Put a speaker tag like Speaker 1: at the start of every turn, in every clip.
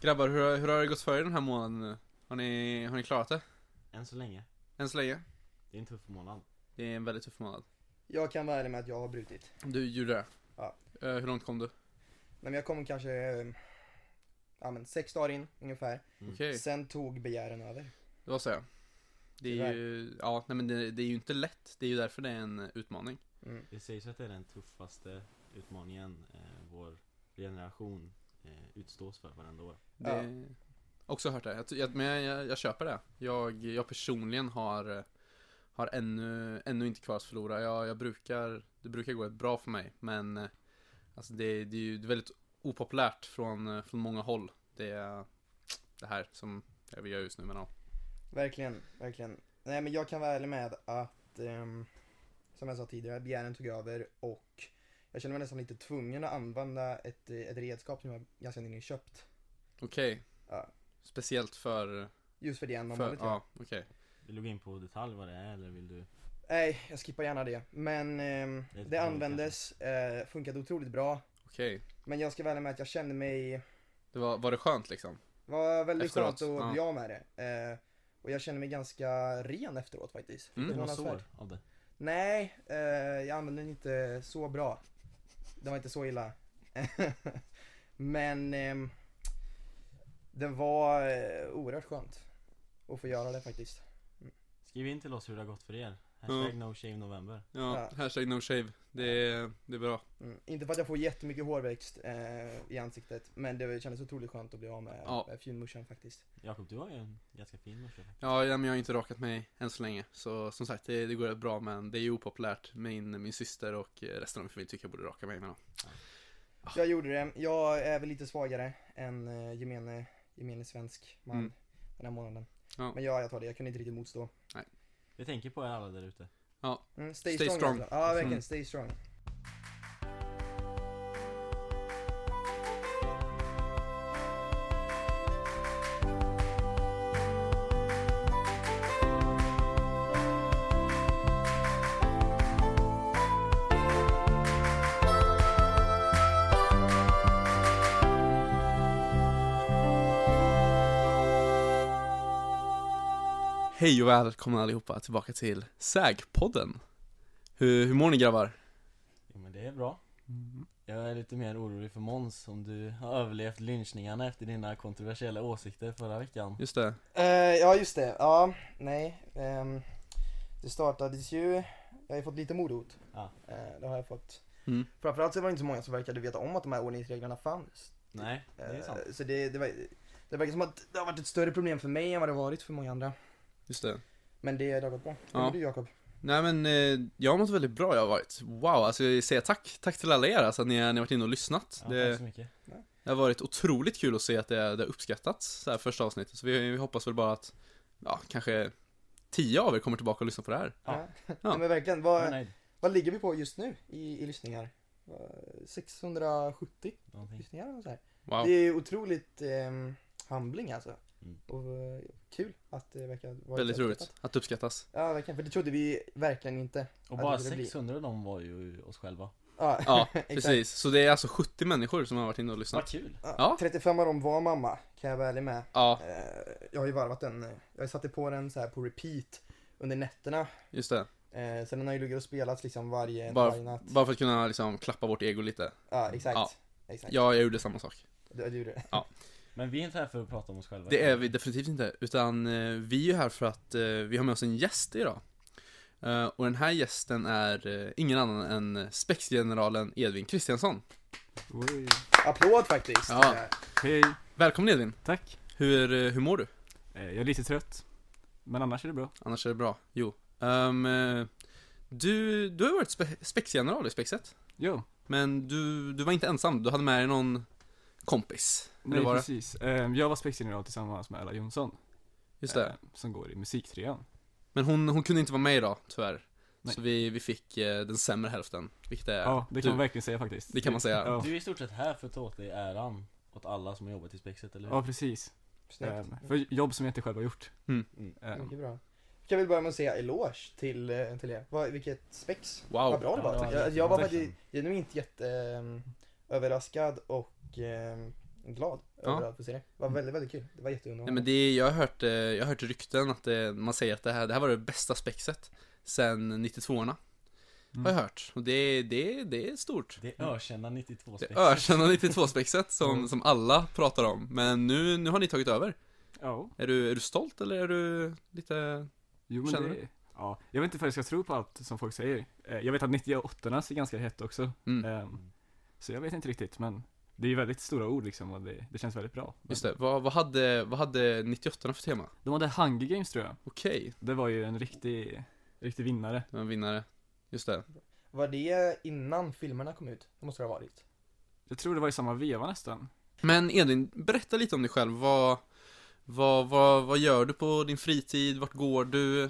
Speaker 1: Grabbar, hur, har- hur har det gått för er den här månaden nu? Har ni, har ni klarat det?
Speaker 2: Än så länge.
Speaker 1: Än så länge?
Speaker 2: Det är en tuff månad.
Speaker 1: Det är en väldigt tuff månad.
Speaker 3: Jag kan vara ärlig med att jag har brutit.
Speaker 1: Du gjorde det?
Speaker 3: Ja.
Speaker 1: Eh, hur långt kom du?
Speaker 3: Nej, men jag kom kanske, eh, ja men sex dagar in ungefär.
Speaker 2: Mm.
Speaker 1: Okej,
Speaker 3: Sen tog begären över.
Speaker 1: det var så ja. Det är ju, ja, nej men det, det är ju inte lätt. Det är ju därför det är en utmaning.
Speaker 3: Mm.
Speaker 2: Det sägs att det är den tuffaste utmaningen eh, vår generation eh, utstås för varenda år.
Speaker 1: Det, Också hört det. Jag, ty- jag, men jag, jag, jag köper det. Jag, jag personligen har, eh, har ännu, ännu inte kvar att förlora. Jag, jag brukar, det brukar gå rätt bra för mig, men eh, alltså det, det är ju det är väldigt opopulärt från, eh, från många håll. Det, är det här som det vi gör just nu, men ja.
Speaker 3: Verkligen, verkligen. Nej men jag kan vara ärlig med att, ehm, som jag sa tidigare, begären tog över och jag kände mig nästan lite tvungen att använda ett, eh, ett redskap som jag ganska nyligen köpt.
Speaker 1: Okej.
Speaker 3: Ja. typ.
Speaker 1: Speciellt för...
Speaker 3: Just för det
Speaker 1: för
Speaker 3: ändamålet ja.
Speaker 1: ja, okej.
Speaker 2: Vill du gå in på detalj vad det är eller vill du?
Speaker 3: Nej, jag skippar gärna det. Men ehm,
Speaker 2: Det är
Speaker 3: det
Speaker 2: lite
Speaker 3: användes, eh, funkade otroligt bra.
Speaker 1: Okej.
Speaker 3: Men jag ska vara ärlig med att jag kände mig
Speaker 1: Det var, var det skönt liksom?
Speaker 3: Det var väldigt
Speaker 1: Efteråt,
Speaker 3: skönt att
Speaker 1: ja.
Speaker 3: bli av med det. Eh, och jag kände mig ganska ren efteråt faktiskt.
Speaker 1: Mm.
Speaker 2: Det var
Speaker 3: Förvånansvärt.
Speaker 2: sår av det.
Speaker 3: Nej, eh, jag använde den inte så bra. Den var inte så illa. Men ehm, den var eh, oerhört skönt att få göra det faktiskt.
Speaker 2: Skriv in till oss hur det har gått för er. Hashtag
Speaker 1: Ja.
Speaker 2: no shave november.
Speaker 1: Ja,
Speaker 3: Ja.
Speaker 1: hashtag no shave. Det, är- det är bra.
Speaker 3: Mm. Inte för att jag får jättemycket hårväxt eh, i ansiktet, men det kändes otroligt skönt att bli av med,
Speaker 1: Ja.
Speaker 3: med finmuschen faktiskt.
Speaker 2: Jakob, du har ju en ganska fin morsa.
Speaker 1: Ja, ja, men jag har inte rakat mig än så länge. Så som sagt, det, det går rätt bra men det är ju opopulärt. Min, min syster och eh, resten av min familj tycker jag borde raka mig. Men ja.
Speaker 3: Jag gjorde det. Jag är väl lite svagare än eh, gemene, gemene svensk man
Speaker 1: Mm.
Speaker 3: den här månaden.
Speaker 1: Ja.
Speaker 3: Men ja, jag tar det. Jag kunde inte riktigt motstå.
Speaker 2: Vi tänker på er alla där ute.
Speaker 3: Mm, stay,
Speaker 1: Stay
Speaker 3: strong.
Speaker 1: strong.
Speaker 3: alltså. Ja, verkligen.
Speaker 1: Mm.
Speaker 3: Stay strong.
Speaker 1: Hej och välkomna allihopa tillbaka till SÄG-podden. Hur, hur mår ni grabbar?
Speaker 2: Jo men det är bra. Jag är lite mer orolig för Måns om du har överlevt lynchningarna efter dina kontroversiella åsikter förra veckan.
Speaker 1: Just det.
Speaker 3: Eh, ja, just det. Ja, nej. ehm, det startades ju... Jag har ju fått lite mordhot.
Speaker 2: Ja.
Speaker 3: Eh, det har jag fått.
Speaker 1: Mm.
Speaker 3: Framförallt så var det inte så många som verkade veta om att de här ordningsreglerna fanns.
Speaker 2: Nej, det är
Speaker 3: Eh,
Speaker 2: sant.
Speaker 3: Så det, det, var, det verkar som att det har varit ett större problem för mig än vad det varit för många andra.
Speaker 1: Just det.
Speaker 3: Men det, det har gått bra. Hur
Speaker 1: Ja.
Speaker 3: mår du Jakob?
Speaker 1: Nej men eh, jag har mått väldigt bra jag har varit. Wow, alltså jag säger tack. Tack till alla er alltså att ni, har- ni har varit inne och lyssnat.
Speaker 2: Ja,
Speaker 1: det,
Speaker 2: Tack så mycket.
Speaker 1: Det har varit otroligt kul att se att det, det har uppskattats, så här första avsnittet. Så vi, vi hoppas väl bara att, ja, kanske tio av er kommer tillbaka och lyssnar på det här.
Speaker 2: Ja.
Speaker 3: Nej, men verkligen. Vad,
Speaker 2: Jag är nöjd.
Speaker 3: Vad ligger vi på just nu i, i lyssningar? Vad- 670
Speaker 1: Mm.
Speaker 2: Någonting.
Speaker 3: lyssningar eller så här.
Speaker 1: Wow.
Speaker 3: Det är otroligt eh, humbling alltså.
Speaker 2: Mm.
Speaker 3: Och eh, kul att det verkar vara
Speaker 1: Väldigt
Speaker 3: så
Speaker 1: roligt
Speaker 3: uppskattat.
Speaker 1: att det uppskattas.
Speaker 3: Ja, verkligen. För det trodde vi verkligen inte.
Speaker 2: Och
Speaker 3: Ja,
Speaker 2: bara
Speaker 3: det borde bli.
Speaker 2: 600 av dem var ju oss själva.
Speaker 3: Ja,
Speaker 1: Ja,
Speaker 3: exakt.
Speaker 1: precis. Så det är alltså 70 människor som har varit inne och
Speaker 2: Vad
Speaker 1: lyssnat.
Speaker 2: kul!
Speaker 3: Ja,
Speaker 1: Ja.
Speaker 3: 35 av dem var mamma, kan jag vara ärlig med.
Speaker 1: Ja,
Speaker 3: Eh, jag har ju varvat den. eh, Jag satte på den så här på repeat under nätterna.
Speaker 1: just det.
Speaker 3: Eh, så den har ju legat och spelats liksom varje,
Speaker 1: Bara-
Speaker 3: varje natt.
Speaker 1: Bara för att kunna liksom klappa vårt ego lite.
Speaker 3: Ja, exakt.
Speaker 1: Ja.
Speaker 3: Exakt.
Speaker 1: Ja, jag gjorde samma sak.
Speaker 3: Du, du, du.
Speaker 2: Men vi är inte här för att prata om oss själva.
Speaker 1: Det är vi definitivt inte, utan eh, vi är ju här för att eh, vi har med oss en gäst idag. Eh, Och den här gästen är eh, ingen annan än spexgeneralen Edvin Kristiansson.
Speaker 4: Oj.
Speaker 3: Applåd faktiskt.
Speaker 1: Ja.
Speaker 3: Eh,
Speaker 4: Hej,
Speaker 1: Välkommen Edvin!
Speaker 4: tack.
Speaker 1: Hur, eh, hur mår du?
Speaker 4: Eh, Jag är lite trött, men annars är det bra.
Speaker 1: Annars är det bra. Jo. Ehm, eh, du, du har varit spe spexgeneral i spexet.
Speaker 4: Jo,
Speaker 1: Men du, du var inte ensam. Du hade med dig någon kompis. Eller
Speaker 4: nej
Speaker 1: var det?
Speaker 4: precis. Eh, Jag var spexgeneral tillsammans med Ella Jonsson,
Speaker 1: Just det.
Speaker 4: eh, som går i musiktrean.
Speaker 1: Men hon, hon kunde inte vara med idag, tyvärr.
Speaker 4: Nej.
Speaker 1: Så vi, vi fick eh, den sämre hälften. Vilket är...
Speaker 4: Ja, det kan
Speaker 1: du.
Speaker 4: man verkligen säga faktiskt.
Speaker 1: Det kan man säga.
Speaker 4: Ja,
Speaker 2: Du är i stort sett här för att ta åt dig äran åt alla som har jobbat i Spexet, eller hur?
Speaker 4: ja precis. Eh,
Speaker 3: Snyggt.
Speaker 4: För jobb som jag inte själv har gjort.
Speaker 1: Mm.
Speaker 2: Mm.
Speaker 4: Eh,
Speaker 3: Mycket bra. Kan vi börja med att säga eloge till, eh, till er. Vad, vilket spex. Vad
Speaker 1: Wow.
Speaker 3: bra det var.
Speaker 2: Ja, det var
Speaker 3: jag, jag var
Speaker 4: verkligen.
Speaker 3: faktiskt genuint jätteöverraskad och ehm, glad
Speaker 1: Ja.
Speaker 3: över att få se det. Det var väldigt, väldigt kul. Det var
Speaker 1: Nej, men
Speaker 3: jätteunderhållande.
Speaker 1: det, är- jag, har hört, eh, jag har hört rykten att det, man säger att det här, det här var det bästa spexet sen 92orna. Har jag hört. Och det, det, det är stort.
Speaker 2: Det är ökända 92
Speaker 1: Det
Speaker 2: spex.
Speaker 1: ökända 92-spexet som,
Speaker 4: Mm.
Speaker 1: som alla pratar om. Men nu, nu har ni tagit över.
Speaker 4: Ja,
Speaker 1: Är du, är du stolt eller är du lite...
Speaker 4: jo men
Speaker 1: Känner
Speaker 4: det... Ja, jag vet inte ifall jag ska tro på allt som folk säger. Eh, Jag vet att 98ornas är ganska hett också.
Speaker 1: Mm.
Speaker 4: Ehm, Så jag vet inte riktigt, men det är ju väldigt stora ord liksom och det, det känns väldigt bra. Men
Speaker 1: Just det, vad, vad hade, vad hade 98orna för tema?
Speaker 4: De hade Hunger Games tror jag.
Speaker 1: Okej,
Speaker 4: Det var ju en riktig, riktig vinnare.
Speaker 1: det var en vinnare. Just det.
Speaker 3: Var det innan filmerna kom ut? Det måste det ha varit.
Speaker 4: Jag tror det var i samma veva nästan.
Speaker 1: Men Edvin, berätta lite om dig själv. Vad, vad, vad, vad gör du på din fritid? Vart går du?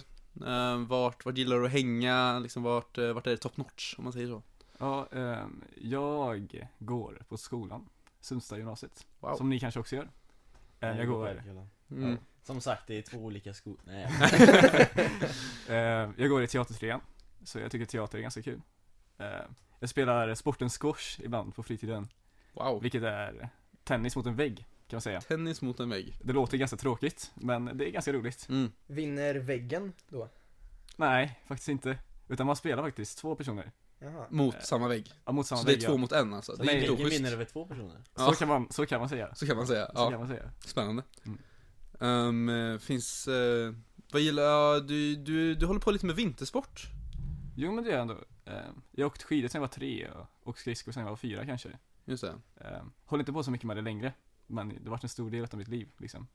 Speaker 1: Eh, vart, vart gillar du att hänga? Liksom vart, eh, vart är det top notch, om man säger så?
Speaker 4: Ja, ehm, jag går på skolan, Sundsta gymnasiet.
Speaker 1: Wow.
Speaker 4: Som ni kanske också gör. Ehm, jag går,
Speaker 1: Mm.
Speaker 2: Som sagt, det är två olika skor. Nej,
Speaker 4: ehm, jag går i teatertrean, så jag tycker teater är ganska kul. Ehm, jag spelar sporten squash ibland på fritiden,
Speaker 1: Wow.
Speaker 4: vilket är tennis mot en vägg kan man säga.
Speaker 1: Tennis mot en vägg.
Speaker 4: Det låter ganska tråkigt, men det är ganska roligt.
Speaker 1: Mm.
Speaker 3: Vinner väggen då?
Speaker 4: Nej, faktiskt inte. Utan man spelar faktiskt två personer.
Speaker 3: Jaha.
Speaker 1: Mot
Speaker 4: Eh,
Speaker 1: samma vägg.
Speaker 4: Ja, mot samma
Speaker 1: Så det är
Speaker 4: vägg,
Speaker 1: två
Speaker 4: ja.
Speaker 1: mot en alltså. Det
Speaker 4: Nej,
Speaker 1: är inte
Speaker 4: väggen
Speaker 2: Vilken
Speaker 1: oschysst.
Speaker 2: vinner över två personer?
Speaker 1: Ja.
Speaker 4: Så, kan man, så kan man säga.
Speaker 1: Så kan man säga.
Speaker 4: Så
Speaker 1: Ja.
Speaker 4: kan man säga.
Speaker 1: Spännande.
Speaker 4: Mm.
Speaker 1: Ehm, eh, finns, eh, vad gillar, ja, du, du, du håller på lite med vintersport.
Speaker 4: Jo men det gör jag ändå. Ehm, Jag har åkt skidor sen jag var tre och åkt skridskor sen jag var fyra kanske.
Speaker 1: Just det,
Speaker 4: Ehm, Håller inte på så mycket med det längre. Men det har varit en stor del av mitt liv liksom.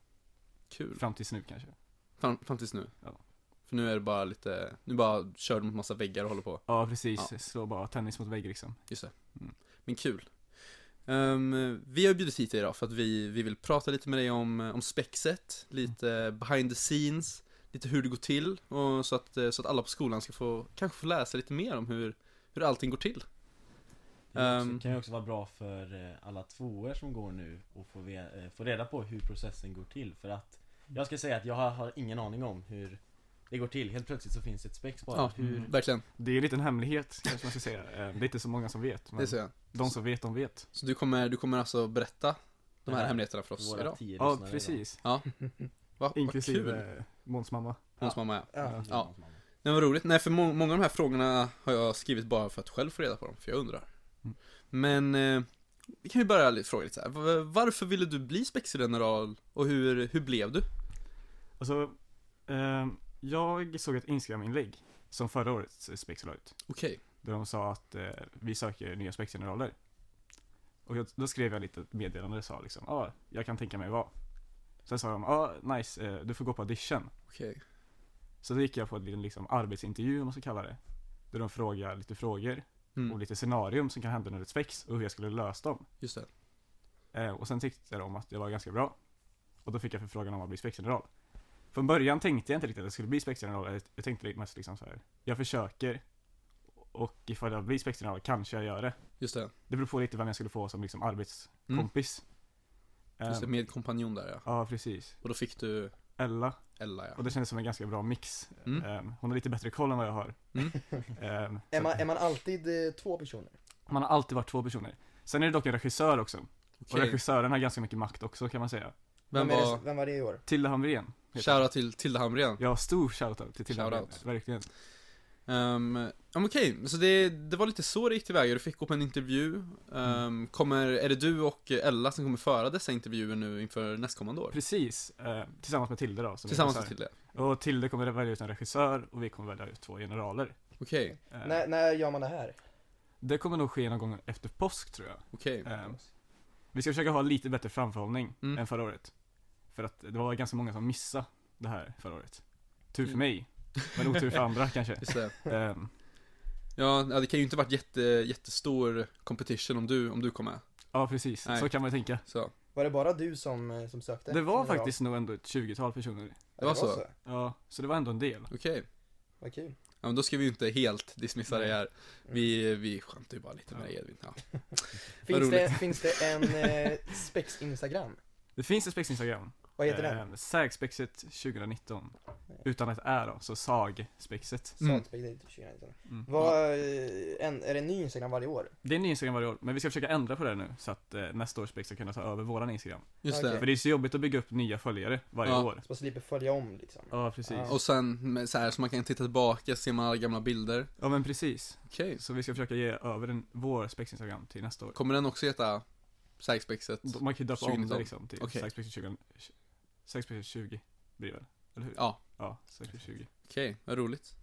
Speaker 1: kul.
Speaker 4: Fram tills nu kanske.
Speaker 1: Fram, fram tills nu.
Speaker 4: Ja.
Speaker 1: För nu är det bara lite, nu bara kör du mot massa väggar och håller på.
Speaker 4: Ja precis, slå bara tennis mot vägg liksom.
Speaker 1: Just det.
Speaker 4: Mm.
Speaker 1: Men kul. Ehm, vi har bjudit hit dig idag för att vi, vi vill prata lite med dig om, om spexet, lite behind the scenes, lite hur det går till och så att, eh, så att alla på skolan ska få, kanske få läsa lite mer om hur, hur allting går till.
Speaker 2: Det är också,
Speaker 1: Ehm.
Speaker 2: kan ju också vara bra för eh, alla tvåor som går nu och få, ve- eh, få reda på hur processen går till för att Jag ska säga att jag har, har ingen aning om hur det går till. Helt plötsligt så finns ett spex bara.
Speaker 1: Ja,
Speaker 2: hur,
Speaker 4: Mm.
Speaker 1: Verkligen,
Speaker 4: Det är en liten hemlighet kanske man ska säga. Ehm, Det är inte så många som vet. Men
Speaker 1: det ser jag.
Speaker 4: de som vet, de vet.
Speaker 1: Så du kommer, du kommer alltså berätta de här
Speaker 2: Nej.
Speaker 1: hemligheterna för oss
Speaker 2: våra
Speaker 1: idag?
Speaker 2: tio
Speaker 4: Ja
Speaker 2: lyssnare
Speaker 4: precis.
Speaker 1: Va, vad kul!
Speaker 4: Inklusive eh, Måns mamma.
Speaker 1: Hans mamma ja.
Speaker 2: idag.
Speaker 3: Ja.
Speaker 1: Ja. Nej vad roligt, nej för må- många av de här frågorna har jag skrivit bara för att själv få reda på dem, för jag undrar.
Speaker 4: Mm.
Speaker 1: Men, eh, vi kan ju börja lite, fråga lite så här. Va- varför ville du bli spexgeneral och hur, hur blev du?
Speaker 4: Alltså, ehm, jag såg ett Instagram-inlägg som förra årets spex la ut.
Speaker 1: Okej,
Speaker 4: Där de sa att eh, vi söker nya spexgeneraler. Och jag, då skrev jag lite ett meddelande och sa liksom, ja, ah, jag kan tänka mig vad. Sen sa de, ja, ah, nice, eh, du får gå på audition.
Speaker 1: okej,
Speaker 4: Så då gick jag på en liten liksom, arbetsintervju, om man ska kalla det. Där de frågar lite frågor och
Speaker 1: mm,
Speaker 4: lite scenarium som kan hända under ett spex och hur jag skulle lösa dem.
Speaker 1: just det.
Speaker 4: Eh, och sen tyckte de att jag var ganska bra. Och då fick jag förfrågan om att bli spexgeneral. Från början tänkte jag inte riktigt att jag skulle bli spexgeneral. Jag- Jag tänkte mest liksom så här. jag försöker. Och ifall jag blir spexgeneral kanske jag gör det.
Speaker 1: Just det,
Speaker 4: Det beror på lite vem jag skulle få som liksom arbetskompis.
Speaker 1: Mm. just det,
Speaker 4: Eh,
Speaker 1: med kompanjon där ja.
Speaker 4: ja, precis.
Speaker 1: Och då fick du
Speaker 4: Ella.
Speaker 1: Ella ja.
Speaker 4: Och det kändes som en ganska bra mix.
Speaker 1: Mm.
Speaker 4: Eh, hon har lite bättre koll än vad jag har.
Speaker 1: Mm.
Speaker 4: Eh,
Speaker 3: Är,
Speaker 4: så
Speaker 3: man, är man alltid eh, två personer?
Speaker 4: man har alltid varit två personer. Sen är det dock en regissör också. Och
Speaker 1: Okej,
Speaker 4: regissören har ganska mycket makt också kan man säga.
Speaker 1: vem
Speaker 3: är det,
Speaker 1: var,
Speaker 3: vem var det i år?
Speaker 4: Tilde Hamrén. heter hon.
Speaker 1: kära till Tilda Hamrén?
Speaker 4: Ja, stor shoutout till Tilde Hamrén.
Speaker 1: Shoutout.
Speaker 4: Verkligen.
Speaker 1: Um, ja, men okej, så det, det var lite så det gick tillväga, du fick gå på en intervju Ehm, kommer, Är det du och Ella som kommer föra dessa intervjuer nu inför nästkommande år?
Speaker 4: Precis, eh, tillsammans med Tilde då. Som
Speaker 1: Tillsammans med
Speaker 4: regissör.
Speaker 1: Tilde,
Speaker 4: Och Tilde kommer att välja ut en regissör och vi kommer välja ut två generaler.
Speaker 1: okej,
Speaker 4: Eh,
Speaker 3: När, när gör man det här?
Speaker 4: Det kommer nog ske någon gång efter påsk tror jag.
Speaker 1: okej
Speaker 4: Eh, vi ska försöka ha lite bättre framförhållning
Speaker 1: Mm.
Speaker 4: än förra året. För att det var ganska många som missade det här förra året. Tur för
Speaker 1: Mm.
Speaker 4: mig, men otur för andra kanske.
Speaker 1: Just det.
Speaker 4: Eh,
Speaker 1: Ja, ja, det kan ju inte varit jätte, jättestor competition om du, om du kom med
Speaker 4: ja, precis.
Speaker 1: Nej.
Speaker 4: Så kan man ju tänka.
Speaker 1: Så,
Speaker 3: Var det bara du som, eh, som sökte?
Speaker 4: Det var
Speaker 3: Eller
Speaker 4: faktiskt nog ändå ett 20-tal personer.
Speaker 3: Ja, det
Speaker 1: Det var så?
Speaker 4: Ja, så det var ändå en del.
Speaker 1: okej
Speaker 3: Vad kul.
Speaker 1: Ja men då ska vi ju inte helt dismissa
Speaker 4: Nej. Mm.
Speaker 1: det här Vi, vi skämtar ju bara lite med
Speaker 4: Ja.
Speaker 1: dig Edvin ja.
Speaker 3: Finns
Speaker 1: roligt.
Speaker 3: det, finns det en eh, spex-instagram?
Speaker 4: Det finns ett spexinstagram
Speaker 3: Vad heter den?
Speaker 4: Eh, SAG-spexet 2019. Utan ett Ä då, så SAG-spexet.
Speaker 1: Mm.
Speaker 3: Saltspektet 2019.
Speaker 4: Mm.
Speaker 3: typ Vad, eh, en, är det en ny Instagram varje år?
Speaker 4: Det är en ny Instagram varje år, men vi ska försöka ändra på det nu så att eh, nästa års spex ska kunna ta över våran Instagram.
Speaker 1: Just
Speaker 3: Okej.
Speaker 4: För
Speaker 1: det.
Speaker 4: det är så jobbigt att bygga upp nya följare varje
Speaker 1: Ja.
Speaker 4: år.
Speaker 3: Så man slipper följa om liksom.
Speaker 4: Ja, precis.
Speaker 3: Ja.
Speaker 1: Och sen med så här, så man kan titta tillbaka, se man alla gamla bilder.
Speaker 4: Ja, men precis.
Speaker 1: Okej.
Speaker 4: Så vi ska försöka ge över den, vår spex-instagram till nästa år.
Speaker 1: Kommer den också heta Sagsbexet?
Speaker 4: Man kan ju döpa om det
Speaker 1: 2019.
Speaker 4: liksom till
Speaker 1: Okej.
Speaker 4: okay. 20 20 blir det väl? Eller hur?
Speaker 1: Ja,
Speaker 4: Ja, 20
Speaker 1: okej, vad roligt.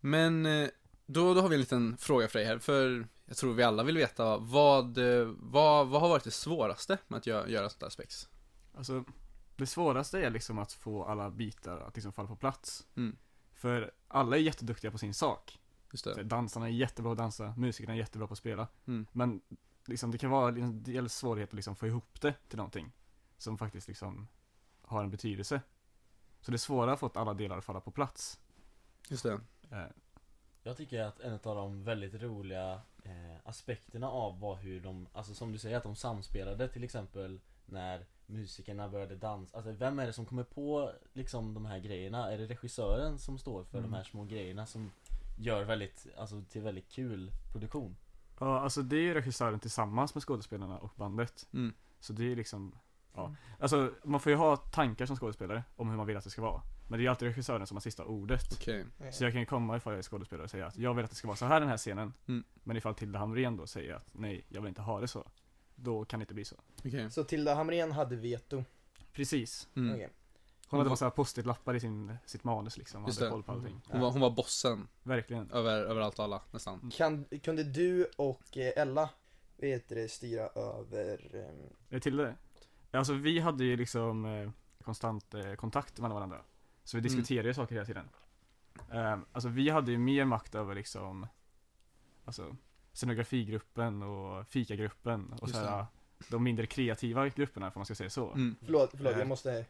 Speaker 1: Men eh, då, då har vi en liten fråga för dig här, för jag tror vi alla vill veta vad, eh, vad, vad har varit det svåraste med att göra, göra sånt här spex?
Speaker 4: Alltså, det svåraste är liksom att få alla bitar att liksom falla på plats.
Speaker 1: Mm.
Speaker 4: För alla är jätteduktiga på sin sak.
Speaker 1: Just
Speaker 4: Så
Speaker 1: det.
Speaker 4: Dansarna är jättebra på att dansa, musikerna är jättebra på att spela.
Speaker 1: Mm.
Speaker 4: Men liksom, det kan vara en del svårighet att liksom få ihop det till någonting som faktiskt liksom har en betydelse. Så det svåra har fått alla delar att falla på plats.
Speaker 1: Just det.
Speaker 4: Eh,
Speaker 2: Jag tycker att en av de väldigt roliga eh, aspekterna av var hur de, alltså som du säger att de samspelade till exempel när musikerna började dansa. Alltså vem är det som kommer på liksom de här grejerna? Är det regissören som står för
Speaker 4: Mm.
Speaker 2: de här små grejerna som gör väldigt, alltså till väldigt kul produktion?
Speaker 4: Ja, alltså det är ju regissören tillsammans med skådespelarna och bandet.
Speaker 1: Mm.
Speaker 4: Så det är liksom, ja. Alltså man får ju ha tankar som skådespelare om hur man vill att det ska vara. Men det är ju alltid regissören som har sista ordet.
Speaker 1: Okej.
Speaker 3: Eh,
Speaker 4: Så jag kan ju komma ifall jag är skådespelare och säga att jag vill att det ska vara så här den här scenen.
Speaker 1: Mm.
Speaker 4: Men ifall Tilda Hamrén då säger att nej, jag vill inte ha det så. Då kan det inte bli så.
Speaker 1: Okej.
Speaker 3: Så Tilda Hamrén hade veto.
Speaker 4: Precis.
Speaker 1: Mm.
Speaker 3: Okej.
Speaker 4: Hon hade massa post-it-lappar i sin, sitt manus liksom.
Speaker 1: Just
Speaker 4: hade
Speaker 1: det. Mm.
Speaker 4: koll på allting.
Speaker 1: Hon, var, hon var bossen
Speaker 4: Verkligen.
Speaker 1: över, över allt och alla,
Speaker 4: Mm.
Speaker 1: nästan.
Speaker 3: Kan, kunde du och eh, Ella, vad heter det, styra över... ehm,
Speaker 4: Eh, Tilda det? Alltså vi hade ju liksom eh, konstant eh, kontakt mellan varandra. Så vi
Speaker 1: Mm.
Speaker 4: diskuterade ju saker hela tiden. Eh, alltså vi hade ju mer makt över liksom, alltså scenografigruppen och fikagruppen och
Speaker 1: Just
Speaker 4: så här, de mindre kreativa grupperna får man ska säga så.
Speaker 1: Mm.
Speaker 3: Förlåt, förlåt,
Speaker 4: Eh.
Speaker 3: jag måste...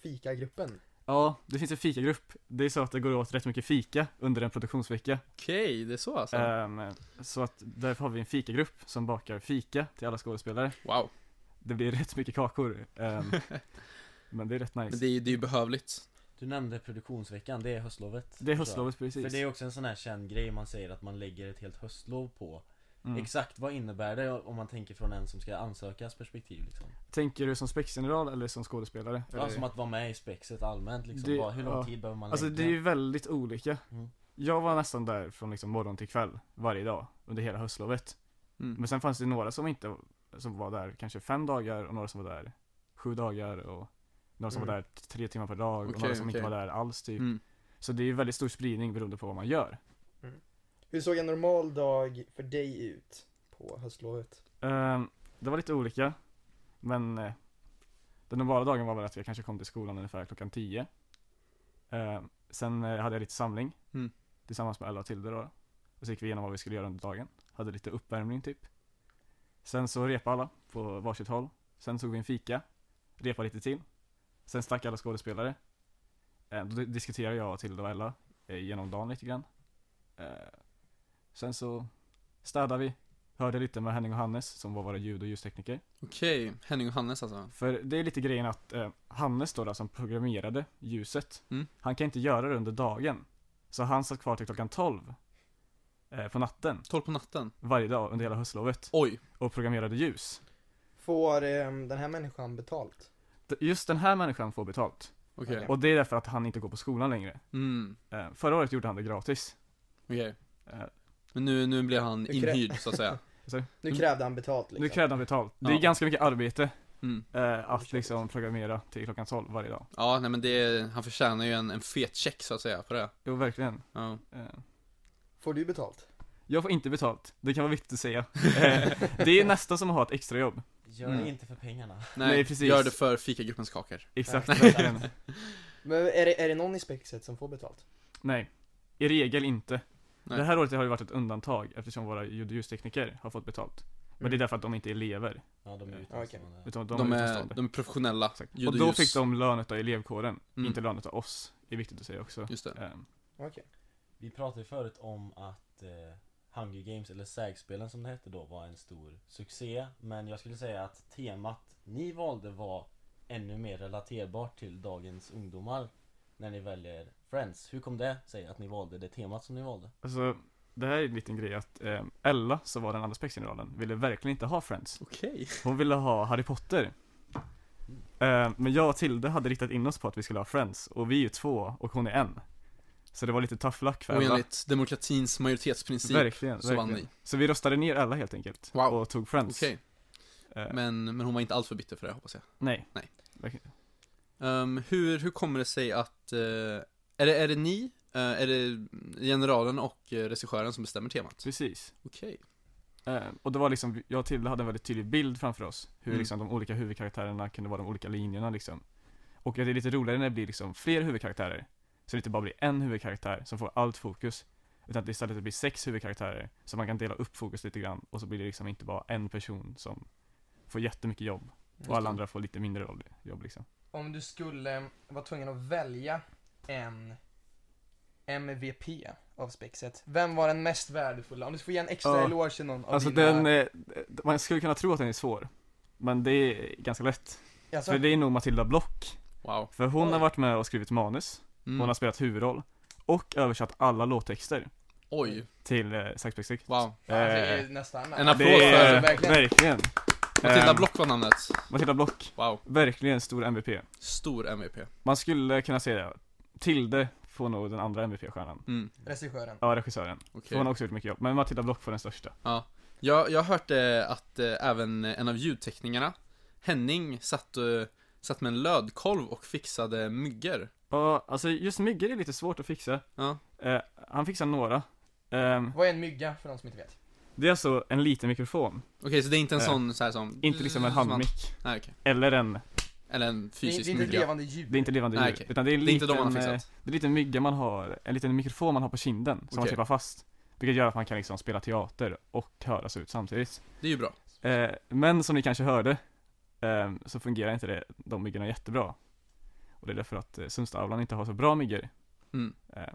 Speaker 3: Fikagruppen.
Speaker 4: Ja, det finns en fikagrupp. Det är så att det går åt rätt mycket fika under en produktionsvecka.
Speaker 1: Okej, det är så alltså?
Speaker 4: Ehm, så att därför har vi en fikagrupp som bakar fika till alla skådespelare.
Speaker 1: wow.
Speaker 4: Det blir rätt mycket kakor. ehm, men det är rätt nice.
Speaker 1: Men det är ju det är ju behövligt.
Speaker 2: Du nämnde produktionsveckan, det är höstlovet.
Speaker 4: Det är
Speaker 2: tror jag.
Speaker 4: höstlovet precis.
Speaker 2: För det är också en sån här känd grej man säger att man lägger ett helt höstlov på.
Speaker 4: mm.
Speaker 2: Exakt vad innebär det om man tänker från en som ska ansökas perspektiv liksom?
Speaker 4: Tänker du som spexgeneral eller som skådespelare?
Speaker 2: Ja,
Speaker 4: Eller-
Speaker 2: som att vara med i spexet allmänt liksom.
Speaker 4: Det-
Speaker 2: Bara, hur lång
Speaker 4: ja.
Speaker 2: tid behöver man
Speaker 4: Alltså det
Speaker 2: lägga?
Speaker 4: är ju väldigt olika.
Speaker 2: Mm.
Speaker 4: Jag var nästan där från liksom morgon till kväll varje dag under hela höstlovet.
Speaker 1: Mm.
Speaker 4: Men sen fanns det några som inte som var där kanske fem dagar och några som var där sju dagar och några som var
Speaker 3: Mm.
Speaker 4: där t- tre timmar per dag och
Speaker 1: Okej,
Speaker 4: några som inte
Speaker 1: okej.
Speaker 4: var där alls typ.
Speaker 1: Mm.
Speaker 4: Så det är ju väldigt stor spridning beroende på vad man gör.
Speaker 3: Hur såg en normal dag för dig ut på höstlovet?
Speaker 4: Ehm, det var lite olika, men eh, den normala dagen var väl att jag kanske kom till skolan ungefär klockan 10. Ehm, sen eh, hade jag lite samling
Speaker 1: Mm.
Speaker 4: tillsammans med Ella och Tilde då. Och så gick vi igenom vad vi skulle göra under dagen. Hade lite uppvärmning typ. Sen så repade alla på varsitt håll. Sen tog vi en fika, repade lite till. Sen stack alla skådespelare. Ehm, då di- diskuterade jag och Tilde och Ella eh, genom dagen lite grann. Ehm, sen så städade vi, hörde lite med Henning och Hannes som var våra ljud och ljustekniker.
Speaker 1: Okej, Henning och Hannes alltså.
Speaker 4: För det är lite grejen att eh, Hannes då, där som programmerade ljuset,
Speaker 1: Mm.
Speaker 4: han kan inte göra det under dagen. Så han satt kvar till klockan 12 eh, på natten
Speaker 1: 12 på natten.
Speaker 4: varje dag under hela höstlovet
Speaker 1: Oj,
Speaker 4: och programmerade ljus.
Speaker 3: Får ehm, den här människan betalt?
Speaker 4: D- Just den här människan får betalt.
Speaker 1: okej.
Speaker 3: Okej.
Speaker 4: Och det är därför att han inte går på skolan längre.
Speaker 1: Mm,
Speaker 4: Eh, förra året gjorde han det gratis.
Speaker 1: okej.
Speaker 4: Eh,
Speaker 1: Men nu, nu blir han
Speaker 3: krä-
Speaker 1: inhyrd så att säga.
Speaker 3: Nu
Speaker 1: Mm.
Speaker 3: krävde han betalt liksom.
Speaker 4: nu krävde han betalt. Det är
Speaker 1: Ja.
Speaker 4: ganska mycket arbete
Speaker 1: Mm.
Speaker 4: eh, att
Speaker 3: Förstås.
Speaker 4: liksom programmera till klockan 12 varje dag.
Speaker 1: Ja, nej men det, han förtjänar ju en, en fet check så att säga för det.
Speaker 4: Jo, verkligen.
Speaker 1: Ja.
Speaker 4: Eh,
Speaker 3: Får du betalt?
Speaker 4: Jag får inte betalt, det kan vara viktigt att säga. Eh, det är nästa som har ett extrajobb.
Speaker 2: Gör
Speaker 1: Mm.
Speaker 2: det inte för pengarna.
Speaker 1: Nej,
Speaker 4: Nej, precis.
Speaker 1: gör det för fikagruppens kakor.
Speaker 4: Exakt,
Speaker 3: Nej.
Speaker 4: verkligen.
Speaker 3: Men är det, är det någon i spexet som får betalt?
Speaker 4: Nej, i regel inte.
Speaker 1: Nej.
Speaker 4: Det här året har det varit ett undantag eftersom våra ljud och ljustekniker har fått betalt. Men det är
Speaker 3: Mm.
Speaker 4: därför att de inte är elever,
Speaker 2: Ja, de är ute.
Speaker 3: Ja, okej.
Speaker 4: utan de,
Speaker 1: De,
Speaker 4: är
Speaker 1: är,
Speaker 4: utomstående.
Speaker 1: de är professionella.
Speaker 4: Exakt.
Speaker 1: Ljud
Speaker 4: Och då
Speaker 1: ljus.
Speaker 4: fick de lönet av elevkåren,
Speaker 1: Mm.
Speaker 4: inte lönet av oss. Det är viktigt att säga också.
Speaker 1: Just det.
Speaker 4: Ehm,
Speaker 3: Okej.
Speaker 2: Vi pratade ju förut om att eh, Hunger Games, eller sägspelen som det hette då, var en stor succé. Men jag skulle säga att temat ni valde var ännu mer relaterbart till dagens ungdomar när ni väljer Friends. Hur kom det sig att ni valde det temat som ni valde?
Speaker 4: Alltså, det här är en liten grej att eh, Ella, som var den andra spexgeneralen, ville verkligen inte ha Friends.
Speaker 1: Okej.
Speaker 4: Hon ville ha Harry Potter. Eh, men jag och Tilde hade riktat in oss på att vi skulle ha Friends, och vi är ju två och hon är en. Så det var lite tough luck för
Speaker 1: Och
Speaker 4: Ella.
Speaker 1: enligt demokratins majoritetsprincip
Speaker 4: Verkligen,
Speaker 1: så vann
Speaker 4: verkligen.
Speaker 1: ni.
Speaker 4: Så vi röstade ner Ella helt enkelt.
Speaker 1: Wow.
Speaker 4: Och tog Friends.
Speaker 1: Okej,
Speaker 4: Eh,
Speaker 1: men, men hon var inte alls för bitter för det hoppas jag.
Speaker 4: Nej.
Speaker 1: Nej.
Speaker 4: Verkligen.
Speaker 1: Ehm, hur, hur kommer det sig att, eh, är, det, är det ni, eh, är det generalen och eh, regissören som bestämmer temat?
Speaker 4: Precis.
Speaker 1: Okej.
Speaker 4: Eh, och det var liksom, jag och Tilde hade en väldigt tydlig bild framför oss, hur
Speaker 1: Mm.
Speaker 4: liksom de olika huvudkaraktärerna kunde vara de olika linjerna liksom. Och det är lite roligare när det blir liksom fler huvudkaraktärer, så det inte bara blir en huvudkastär som får allt fokus, utan att det istället blir sex huvudkaraktärer, så man kan dela upp fokus lite grann, och så blir det liksom inte bara en person som får jättemycket jobb, och alla andra får lite mindre roll, jobb liksom.
Speaker 3: Om du skulle eh, vara tvungen att välja en MVP av spexet, vem var den mest värdefulla? Om du får ge en extra
Speaker 4: Ja.
Speaker 3: eloge till någon av
Speaker 4: Alltså
Speaker 3: dina...
Speaker 4: den, eh, man skulle kunna tro att den är svår, men det är ganska lätt.
Speaker 3: alltså,
Speaker 4: För det är nog Matilda Block,
Speaker 1: Wow.
Speaker 4: för hon
Speaker 3: Oj.
Speaker 4: har varit med och skrivit manus,
Speaker 1: Mm.
Speaker 4: Hon har spelat huvudroll och översatt alla låttexter
Speaker 1: Oj,
Speaker 4: till eh, Sex Pistols.
Speaker 1: wow.
Speaker 3: fan, det
Speaker 4: eh,
Speaker 3: är nästan...
Speaker 1: en applåd
Speaker 4: Det är,
Speaker 1: för-
Speaker 3: verkligen.
Speaker 4: verkligen.
Speaker 1: Matilda
Speaker 4: Ehm,
Speaker 1: Block var namnet.
Speaker 4: Matilda Block.
Speaker 1: Wow.
Speaker 4: Verkligen stor MVP.
Speaker 1: Stor MVP.
Speaker 4: Man skulle kunna säga Tilde får nog den andra MVP-stjärnan.
Speaker 1: Mm,
Speaker 3: Regissören.
Speaker 4: Ja, regissören. För
Speaker 1: okej.
Speaker 4: Hon har också gjort mycket jobb, men Matilda Block får den största.
Speaker 1: Jag, jag hörde att eh, även en av ljudteknikerna, Henning, satt, eh, satt med en lödkolv och fixade myggor.
Speaker 4: Ja, alltså just myggor är lite svårt att fixa.
Speaker 1: Ja.
Speaker 4: Eh, han fixar några. Ehm,
Speaker 3: Vad är en mygga för de som inte vet?
Speaker 4: det är alltså en liten mikrofon,
Speaker 1: Okej, så det är inte en
Speaker 4: Eh,
Speaker 1: sån så här som...
Speaker 4: inte liksom en
Speaker 1: Mm,
Speaker 4: handmick.
Speaker 1: Nej, okej.
Speaker 4: Eller en,
Speaker 1: Eller en
Speaker 3: Det är,
Speaker 1: fysisk
Speaker 3: det är inte ett
Speaker 1: mygga.
Speaker 3: levande djur.
Speaker 4: det är inte levande djur,
Speaker 1: Nej, okej.
Speaker 4: utan det är en
Speaker 1: Det är inte
Speaker 4: liten,
Speaker 1: de man har
Speaker 4: eh,
Speaker 1: fixat.
Speaker 4: Det är en liten mygga man har, en liten mikrofon man har på kinden som man
Speaker 1: Okej.
Speaker 4: klipper fast. Vilket gör att man kan liksom spela teater och höras ut samtidigt.
Speaker 1: Det är ju bra.
Speaker 4: Eh, men som ni kanske hörde, eh, så fungerar inte det, de myggorna jättebra. Och det är därför att eh, Sundstavlan inte har så bra myggor.
Speaker 1: Mm.
Speaker 4: Eh,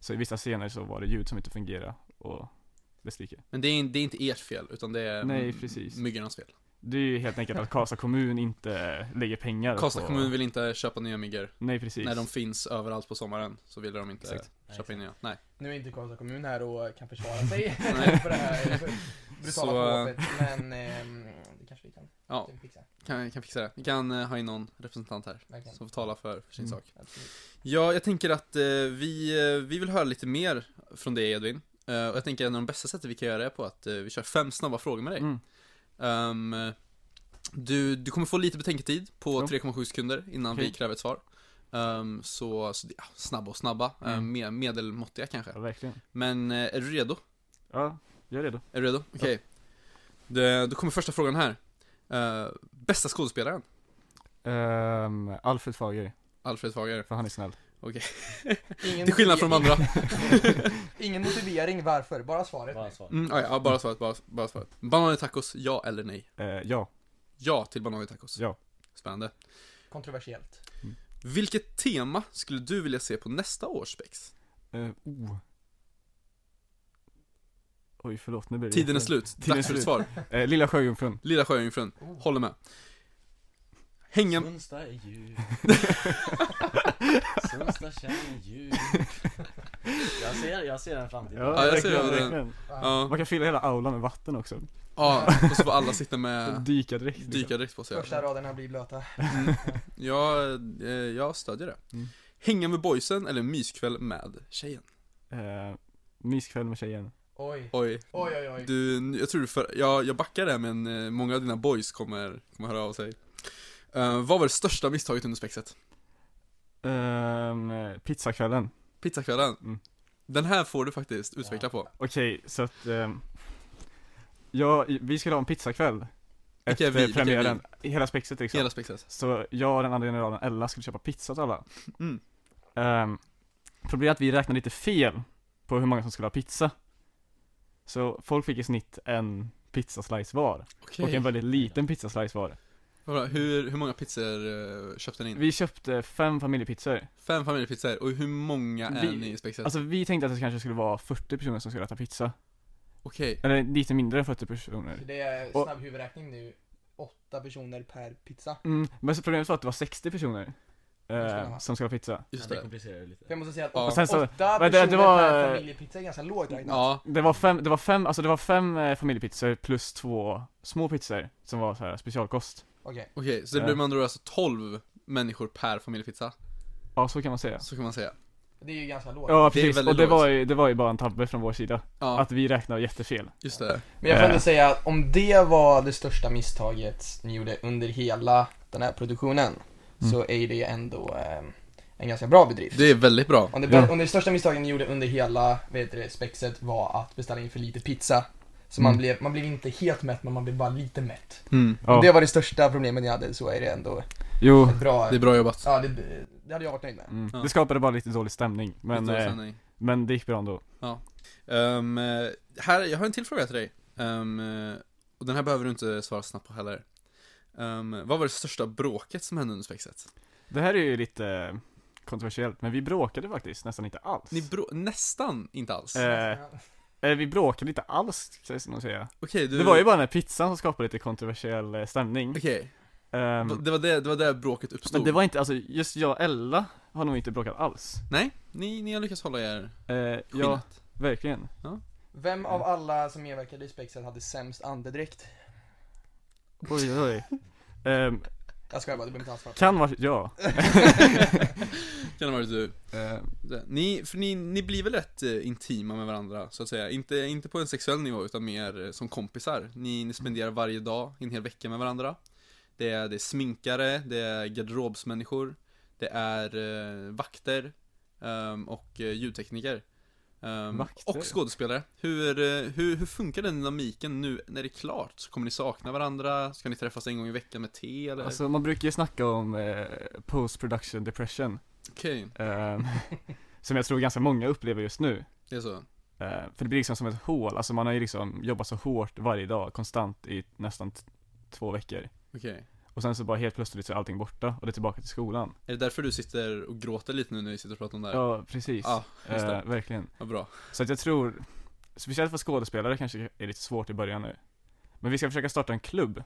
Speaker 4: så i vissa scener så var det ljud som inte fungerade och dess like.
Speaker 1: Men det är, det är inte ert fel, utan det är
Speaker 4: Nej,
Speaker 1: mm,
Speaker 4: precis.
Speaker 1: myggornas fel.
Speaker 4: Det är ju helt enkelt att Karlstad kommun inte lägger pengar
Speaker 1: Karlstad
Speaker 4: på...
Speaker 1: kommun vill inte köpa nya myggor.
Speaker 4: Nej, precis.
Speaker 1: När de finns överallt på sommaren så vill de inte
Speaker 4: Exakt.
Speaker 1: köpa in nya. Nej.
Speaker 3: Nu är inte Karlstad kommun här och kan försvara sig
Speaker 1: Nej.
Speaker 3: för det här brutala
Speaker 1: Så, eh,
Speaker 3: påhoppet, men ehm, det kanske vi kan
Speaker 1: Ja,
Speaker 3: typ fixa.
Speaker 1: kan, kan fixa det. Vi kan eh, ha in någon representant här
Speaker 3: Verkligen.
Speaker 1: som får tala för, för sin
Speaker 4: Mm.
Speaker 1: sak.
Speaker 3: Absolut.
Speaker 1: Ja, jag tänker att eh, vi, eh, vi vill höra lite mer från dig Edvin. Eh, och jag tänker att en av de bästa sätten vi kan göra det på att eh, vi kör fem snabba frågor med dig.
Speaker 4: Mm.
Speaker 1: Ehm, du, du kommer få lite betänketid på
Speaker 4: Jo.
Speaker 1: 3,7 sekunder innan vi
Speaker 4: Okej.
Speaker 1: kräver ett svar. Ehm, så, så det- ja, snabba och snabba,
Speaker 4: Mm.
Speaker 1: Ehm, med, medelmåttiga kanske.
Speaker 4: Ja, verkligen.
Speaker 1: Men eh, är du redo?
Speaker 4: Ja, jag är redo.
Speaker 1: Är du redo? Okej. Det- Då kommer första frågan här. Eh, bästa skådespelaren?
Speaker 4: Ehm, Alfred Fager,
Speaker 1: Alfred Fager.
Speaker 4: för han är snäll.
Speaker 3: Ingen
Speaker 1: Till skillnad från de andra.
Speaker 3: Ingen motivering varför, bara svaret.
Speaker 2: Bara svar.
Speaker 1: Mm, ah, ja, bara svaret, bara, bara svaret. Banan i tacos, ja eller nej?
Speaker 4: Eh, ja,
Speaker 1: Ja till banan i tacos.
Speaker 4: Ja.
Speaker 1: Spännande.
Speaker 3: Kontroversiellt.
Speaker 1: Vilket tema skulle du vilja se på nästa års spex?
Speaker 4: Eh, oh. Oj, förlåt, nu blir det
Speaker 1: Tiden är slut,
Speaker 4: Tiden är
Speaker 1: dags för ett
Speaker 4: slut.
Speaker 1: svar.
Speaker 4: Eh, Lilla Sjöjungfrun.
Speaker 1: Lilla Sjöjungfrun,
Speaker 3: Oh.
Speaker 1: håller med. Hänga...
Speaker 2: Sundsta är djur. Sundsta känner djur. Jag ser, jag ser en framtid.
Speaker 1: Ja, jag ser
Speaker 4: verkligen,
Speaker 1: det.
Speaker 4: verkligen.
Speaker 1: Ja,
Speaker 4: Man kan fylla hela aulan med vatten också.
Speaker 1: ja, och så får alla sitta
Speaker 4: Ja.
Speaker 1: med
Speaker 4: Dyka direkt. liksom.
Speaker 1: dykardräkt på sig.
Speaker 3: Första raderna blir blöta.
Speaker 1: Mm. Jag, eh, jag stödjer det.
Speaker 4: Mm.
Speaker 1: Hänga med boysen eller myskväll med tjejen?
Speaker 4: Eh, myskväll med tjejen.
Speaker 3: Oj,
Speaker 1: Oj,
Speaker 3: oj, oj. oj.
Speaker 1: du, jag tror du för, jag, jag backar det men eh, många av dina boys kommer, kommer höra av sig. Eh, vad var det största misstaget under spexet?
Speaker 4: Ehm, Eh, pizzakvällen.
Speaker 1: Pizzakvällen?
Speaker 4: Mm.
Speaker 1: Den här får du faktiskt utveckla på.
Speaker 4: Okej, så att... ehm, ja, i- vi skulle ha en pizzakväll.
Speaker 1: Vilka är
Speaker 4: Efter
Speaker 1: vi? Vilka är
Speaker 4: premiären. Hela spexet liksom.
Speaker 1: Hela spexet.
Speaker 4: Så jag och den andra generalen Ella skulle köpa pizza till alla.
Speaker 1: Mm.
Speaker 4: Ehm, problemet är att vi räknade lite fel på hur många som skulle ha pizza. Så folk fick i snitt en pizzaslice var.
Speaker 1: Okej.
Speaker 4: Och en väldigt liten pizzaslice var.
Speaker 1: Vad bra. Hur, hur många pizzor eh, köpte ni in?
Speaker 4: Vi köpte fem familjepizzor.
Speaker 1: Fem familjepizzor, och hur många är
Speaker 4: Vi-
Speaker 1: ni i spexet?
Speaker 4: Alltså vi tänkte att det kanske skulle vara 40 personer som skulle äta pizza.
Speaker 1: Okej,
Speaker 4: Eller lite mindre än 40 personer.
Speaker 3: Det är
Speaker 4: Och-
Speaker 3: snabb huvudräkning nu. åtta personer per pizza.
Speaker 4: Mm, men så problemet var att det var 60 personer
Speaker 3: Det ska det
Speaker 4: eh,
Speaker 3: vara.
Speaker 4: som skulle ha pizza.
Speaker 1: Just
Speaker 2: det
Speaker 1: det.
Speaker 2: komplicerar det
Speaker 3: För jag
Speaker 2: lite.
Speaker 3: måste säga att
Speaker 1: Ja.
Speaker 3: åtta,
Speaker 1: Och
Speaker 4: sen så-
Speaker 3: åtta
Speaker 4: men det- det
Speaker 3: personer
Speaker 4: var-
Speaker 3: per familjepizza är ganska lågt räknat.
Speaker 1: Ja,
Speaker 4: Det var fem, det var fem, alltså det var fem eh, familjepizzor plus två små pizzor som var så här specialkost.
Speaker 3: Okej.
Speaker 1: okej. så det
Speaker 4: Ja.
Speaker 1: blir med andra ord alltså 12 människor per familjepizza.
Speaker 4: Ja, så kan man säga.
Speaker 1: Så kan man säga.
Speaker 3: Det är ju ganska lågt.
Speaker 4: Ja,
Speaker 1: Det är
Speaker 4: precis.
Speaker 1: väldigt
Speaker 4: Och det
Speaker 1: lågt.
Speaker 4: var, ju, det var ju bara en tabbe från vår sida.
Speaker 1: Ja,
Speaker 4: Att vi räknade jättefel.
Speaker 1: just det.
Speaker 3: Men jag får ändå
Speaker 4: Eh.
Speaker 3: säga att om det var det största misstaget ni gjorde under hela den här produktionen
Speaker 4: Mm.
Speaker 3: så är det ändå eh, en ganska bra bedrift.
Speaker 1: Det är väldigt bra.
Speaker 3: Om det,
Speaker 4: Ja.
Speaker 3: om det största misstaget ni gjorde under hela vad heter det, spexet var att beställa in för lite pizza. Så man,
Speaker 4: Mm.
Speaker 3: blev, man blev inte helt mätt, men man blev bara lite mätt.
Speaker 1: Mm.
Speaker 4: Ja,
Speaker 3: Om det var det största problemet ni hade så är det ändå
Speaker 4: jo.
Speaker 3: ett bra...
Speaker 1: Det är bra jobbat.
Speaker 3: Ja, det, det hade jag varit nöjd med.
Speaker 4: Mm.
Speaker 1: Ja.
Speaker 4: Det skapade bara lite dålig stämning. Men,
Speaker 1: Lite av
Speaker 4: eh,
Speaker 1: sanning.
Speaker 4: men det gick bra ändå.
Speaker 1: Ehm, eh, här, jag har en till fråga till dig. Ehm, eh, och den här behöver du inte svara snabbt på heller. Ehm, vad var det största bråket som hände under spexet?
Speaker 4: Det här är ju lite eh, kontroversiellt, men vi bråkade faktiskt nästan inte alls.
Speaker 1: Ni brå- nästan inte alls.
Speaker 4: Eh. Eh, vi bråkade inte alls, ska jag nog säga.
Speaker 1: Okej, du...
Speaker 4: Det var ju bara den här pizzan som skapade lite kontroversiell eh, stämning.
Speaker 1: Okej,
Speaker 4: Ehm,
Speaker 1: det var det, det var där bråket uppstod.
Speaker 4: men det var inte, alltså just jag och Ella har nog inte bråkat alls.
Speaker 1: Nej, ni, ni har lyckats hålla er
Speaker 4: Eh, ja,
Speaker 1: skinnet.
Speaker 4: verkligen.
Speaker 3: Vem av alla som medverkade i spexet hade sämst andedräkt?
Speaker 4: Oj, oj, oj. Ehm,
Speaker 3: Jag skojar bara, det behöver inte alls
Speaker 4: kan vara, ja.
Speaker 1: Kan ha varit du.
Speaker 4: Ehm,
Speaker 1: Det. Ni, för ni, ni blir väl rätt eh, intima med varandra, så att säga. Inte, inte på en sexuell nivå, utan mer eh, som kompisar. Ni, ni spenderar varje dag, en hel vecka med varandra. Det är, det är sminkare, det är garderobsmänniskor, det är eh, vakter ehm, och eh, ljudtekniker. Ehm,
Speaker 4: Vakter?
Speaker 1: och skådespelare. Hur, eh, hur, hur funkar den dynamiken nu när det är klart? Kommer ni sakna varandra? Ska ni träffas en gång i veckan med te eller?
Speaker 4: alltså man brukar ju snacka om eh, post production depression.
Speaker 1: Okej,
Speaker 4: Ehm, som jag tror ganska många upplever just nu.
Speaker 1: det är så.
Speaker 4: Eh, för det blir liksom som ett hål, alltså man har ju liksom jobbat så hårt varje dag, konstant i nästan t- två veckor.
Speaker 1: Okej.
Speaker 4: Och sen så bara helt plötsligt så är allting borta och det är tillbaka till skolan.
Speaker 1: Är det därför du sitter och gråter lite nu när vi sitter och pratar om det här?
Speaker 4: Ja, precis.
Speaker 1: Ja, just det.
Speaker 4: Eh, verkligen.
Speaker 1: Vad bra.
Speaker 4: Så att jag tror, speciellt för skådespelare kanske är det lite svårt i början nu. Men vi ska försöka starta en klubb.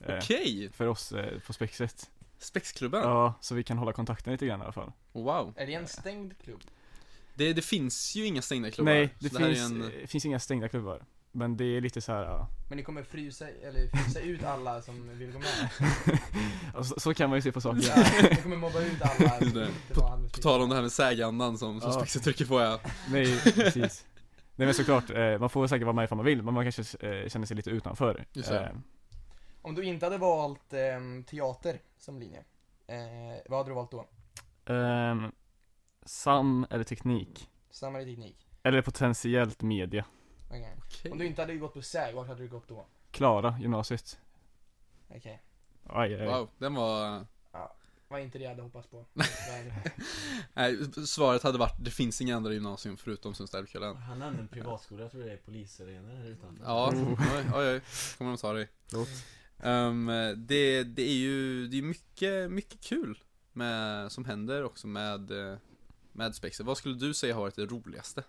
Speaker 4: eh,
Speaker 1: Okej!
Speaker 4: För oss eh, på Spexet.
Speaker 1: Spexklubben.
Speaker 4: Ja, så vi kan hålla kontakten lite grann i alla fall.
Speaker 1: Wow.
Speaker 3: Är det en stängd klubb?
Speaker 1: Det, det finns ju inga stängda klubbar.
Speaker 4: Nej, det,
Speaker 1: så här är
Speaker 4: finns,
Speaker 1: en-
Speaker 4: eh, finns inga stängda klubbar. Men det är lite så här, ja.
Speaker 3: Men ni kommer frysa, eller frysa ut alla som vill gå med?
Speaker 4: Ja, Alltså, så, så kan man ju se på saker.
Speaker 3: Ja, Ni kommer mobba ut alla som
Speaker 1: Det.
Speaker 3: inte var allmänt
Speaker 1: På tal om det här med sägandan som, som
Speaker 4: Ja.
Speaker 1: Spexet trycker på ja.
Speaker 4: Nej, precis. Nej men såklart, eh, man får säkert vara med ifall man vill, men man kanske eh, känner sig lite utanför.
Speaker 1: Just det.
Speaker 4: Eh,
Speaker 3: Om du inte hade valt ehm, teater som linje, eh, vad hade du valt då?
Speaker 4: ehm, SAM eller teknik.
Speaker 3: Samma i teknik?
Speaker 4: Eller potentiellt media.
Speaker 3: Okej.
Speaker 1: Okej.
Speaker 3: Om du inte hade gått på SÄG, vart hade du gått då?
Speaker 4: Klara, gymnasiet.
Speaker 3: Okej,
Speaker 4: Aj, aj.
Speaker 1: Wow, den var...
Speaker 3: var inte det jag hade hoppats på.
Speaker 1: Nej, svaret hade varit det finns inga andra gymnasium förutom Sundstädkullen.
Speaker 2: Han nämnde en privatskola, jag tror det är polisarenor här utanför.
Speaker 1: Ja,
Speaker 4: Oh.
Speaker 1: oj, oj, oj. Kommer de ta dig.
Speaker 4: Låt.
Speaker 1: Ehm, det, det är ju det är mycket, mycket kul med, som händer också med, eh, med Spexet. Vad skulle du säga har varit det roligaste?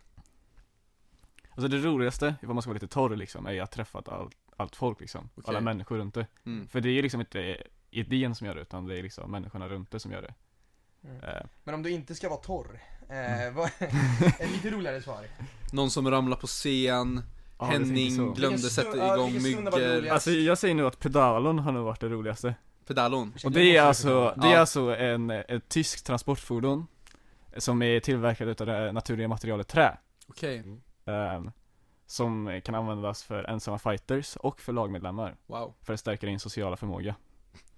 Speaker 4: Alltså det roligaste, ifall man ska vara lite torr liksom, är ju att träffa allt, allt folk liksom.
Speaker 1: Okej.
Speaker 4: Alla människor runt det.
Speaker 1: Mm.
Speaker 4: För det är ju liksom inte idén som gör det, utan det är liksom människorna runt det som gör det.
Speaker 3: Mm.
Speaker 4: Eh,
Speaker 3: Men om du inte ska vara torr,
Speaker 4: Mm.
Speaker 3: eh, vad, ett lite roligare svar.
Speaker 1: Någon som ramlar på scen,
Speaker 4: ja, det tänker
Speaker 1: Henning
Speaker 4: så.
Speaker 1: glömde
Speaker 3: Vilken
Speaker 1: sätta
Speaker 3: stund- ja,
Speaker 1: igång
Speaker 3: vilken stund det var
Speaker 1: myggor,
Speaker 3: roligast.
Speaker 4: Alltså jag säger nu att pedalon har nog varit det roligaste.
Speaker 1: eh, pedalon.
Speaker 4: Och det är alltså, det är
Speaker 1: Ja.
Speaker 4: alltså en, ett tyskt transportfordon Som är tillverkat utav det naturliga materialet trä
Speaker 1: Okej,
Speaker 4: ehm, Som kan användas för ensamma fighters och för lagmedlemmar
Speaker 1: wow.
Speaker 4: För att stärka din sociala förmåga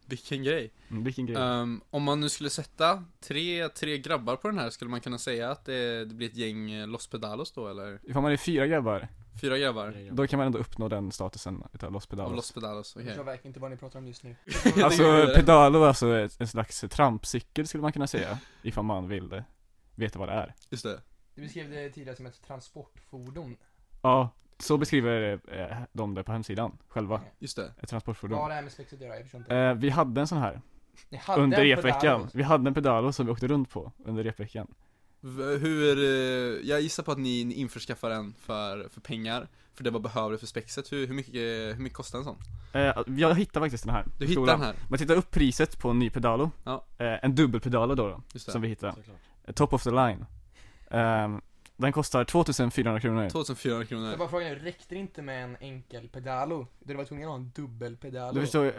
Speaker 1: Vilken grej.
Speaker 4: mm, Vilken grej
Speaker 1: Ehm, om man nu skulle sätta tre, tre grabbar på den här, skulle man kunna säga att det, det blir ett gäng eh, Los Pedalos då, eller?
Speaker 4: Ifall man är fyra grabbar,
Speaker 1: Fyra grabbar
Speaker 4: då kan man ändå uppnå den statusen utav Los
Speaker 1: av
Speaker 4: Pedalos
Speaker 1: Los Pedalos, okej.
Speaker 3: Jag vet inte vad ni pratar om just nu.
Speaker 4: Alltså pedalo är alltså ett- en slags trampcykel skulle man kunna säga Ifall man vill eh, veta vad det är
Speaker 1: Just det.
Speaker 3: Du beskrev det tidigare som ett transportfordon.
Speaker 4: Ja, så beskriver eh, de det på hemsidan själva,
Speaker 1: Just det.
Speaker 4: ett
Speaker 3: Vad har
Speaker 4: transportfordon
Speaker 3: det här med spexet att göra? Jag förstår inte.
Speaker 4: eh, Vi hade en sån här
Speaker 3: Ni hade
Speaker 4: under
Speaker 3: en pedal.
Speaker 4: repveckan. Vi hade en pedalo som vi åkte runt på under repveckan.
Speaker 1: V- Hur, eh, jag gissar på att ni ni införskaffar en för, för pengar, för det var behövligt för spexet. Hur, hur, mycket, hur mycket kostar en sån?
Speaker 4: Eh, jag hittade faktiskt den här.
Speaker 1: Du hittar den här,
Speaker 4: Man tittar upp priset på en ny pedalo.
Speaker 1: Ja.
Speaker 4: Eh, en dubbelpedalo då, då
Speaker 1: just
Speaker 4: som
Speaker 1: det.
Speaker 4: vi hittade.
Speaker 2: såklart.
Speaker 4: Eh, Top of the line. Ehm, den kostar 2400 kronor.
Speaker 1: 2400
Speaker 3: Jag
Speaker 1: kronor.
Speaker 3: bara frågar nu, räckte det inte med en enkel pedalo? Du var tvungen att ha en dubbel pedalo.
Speaker 4: Du förstår, eh,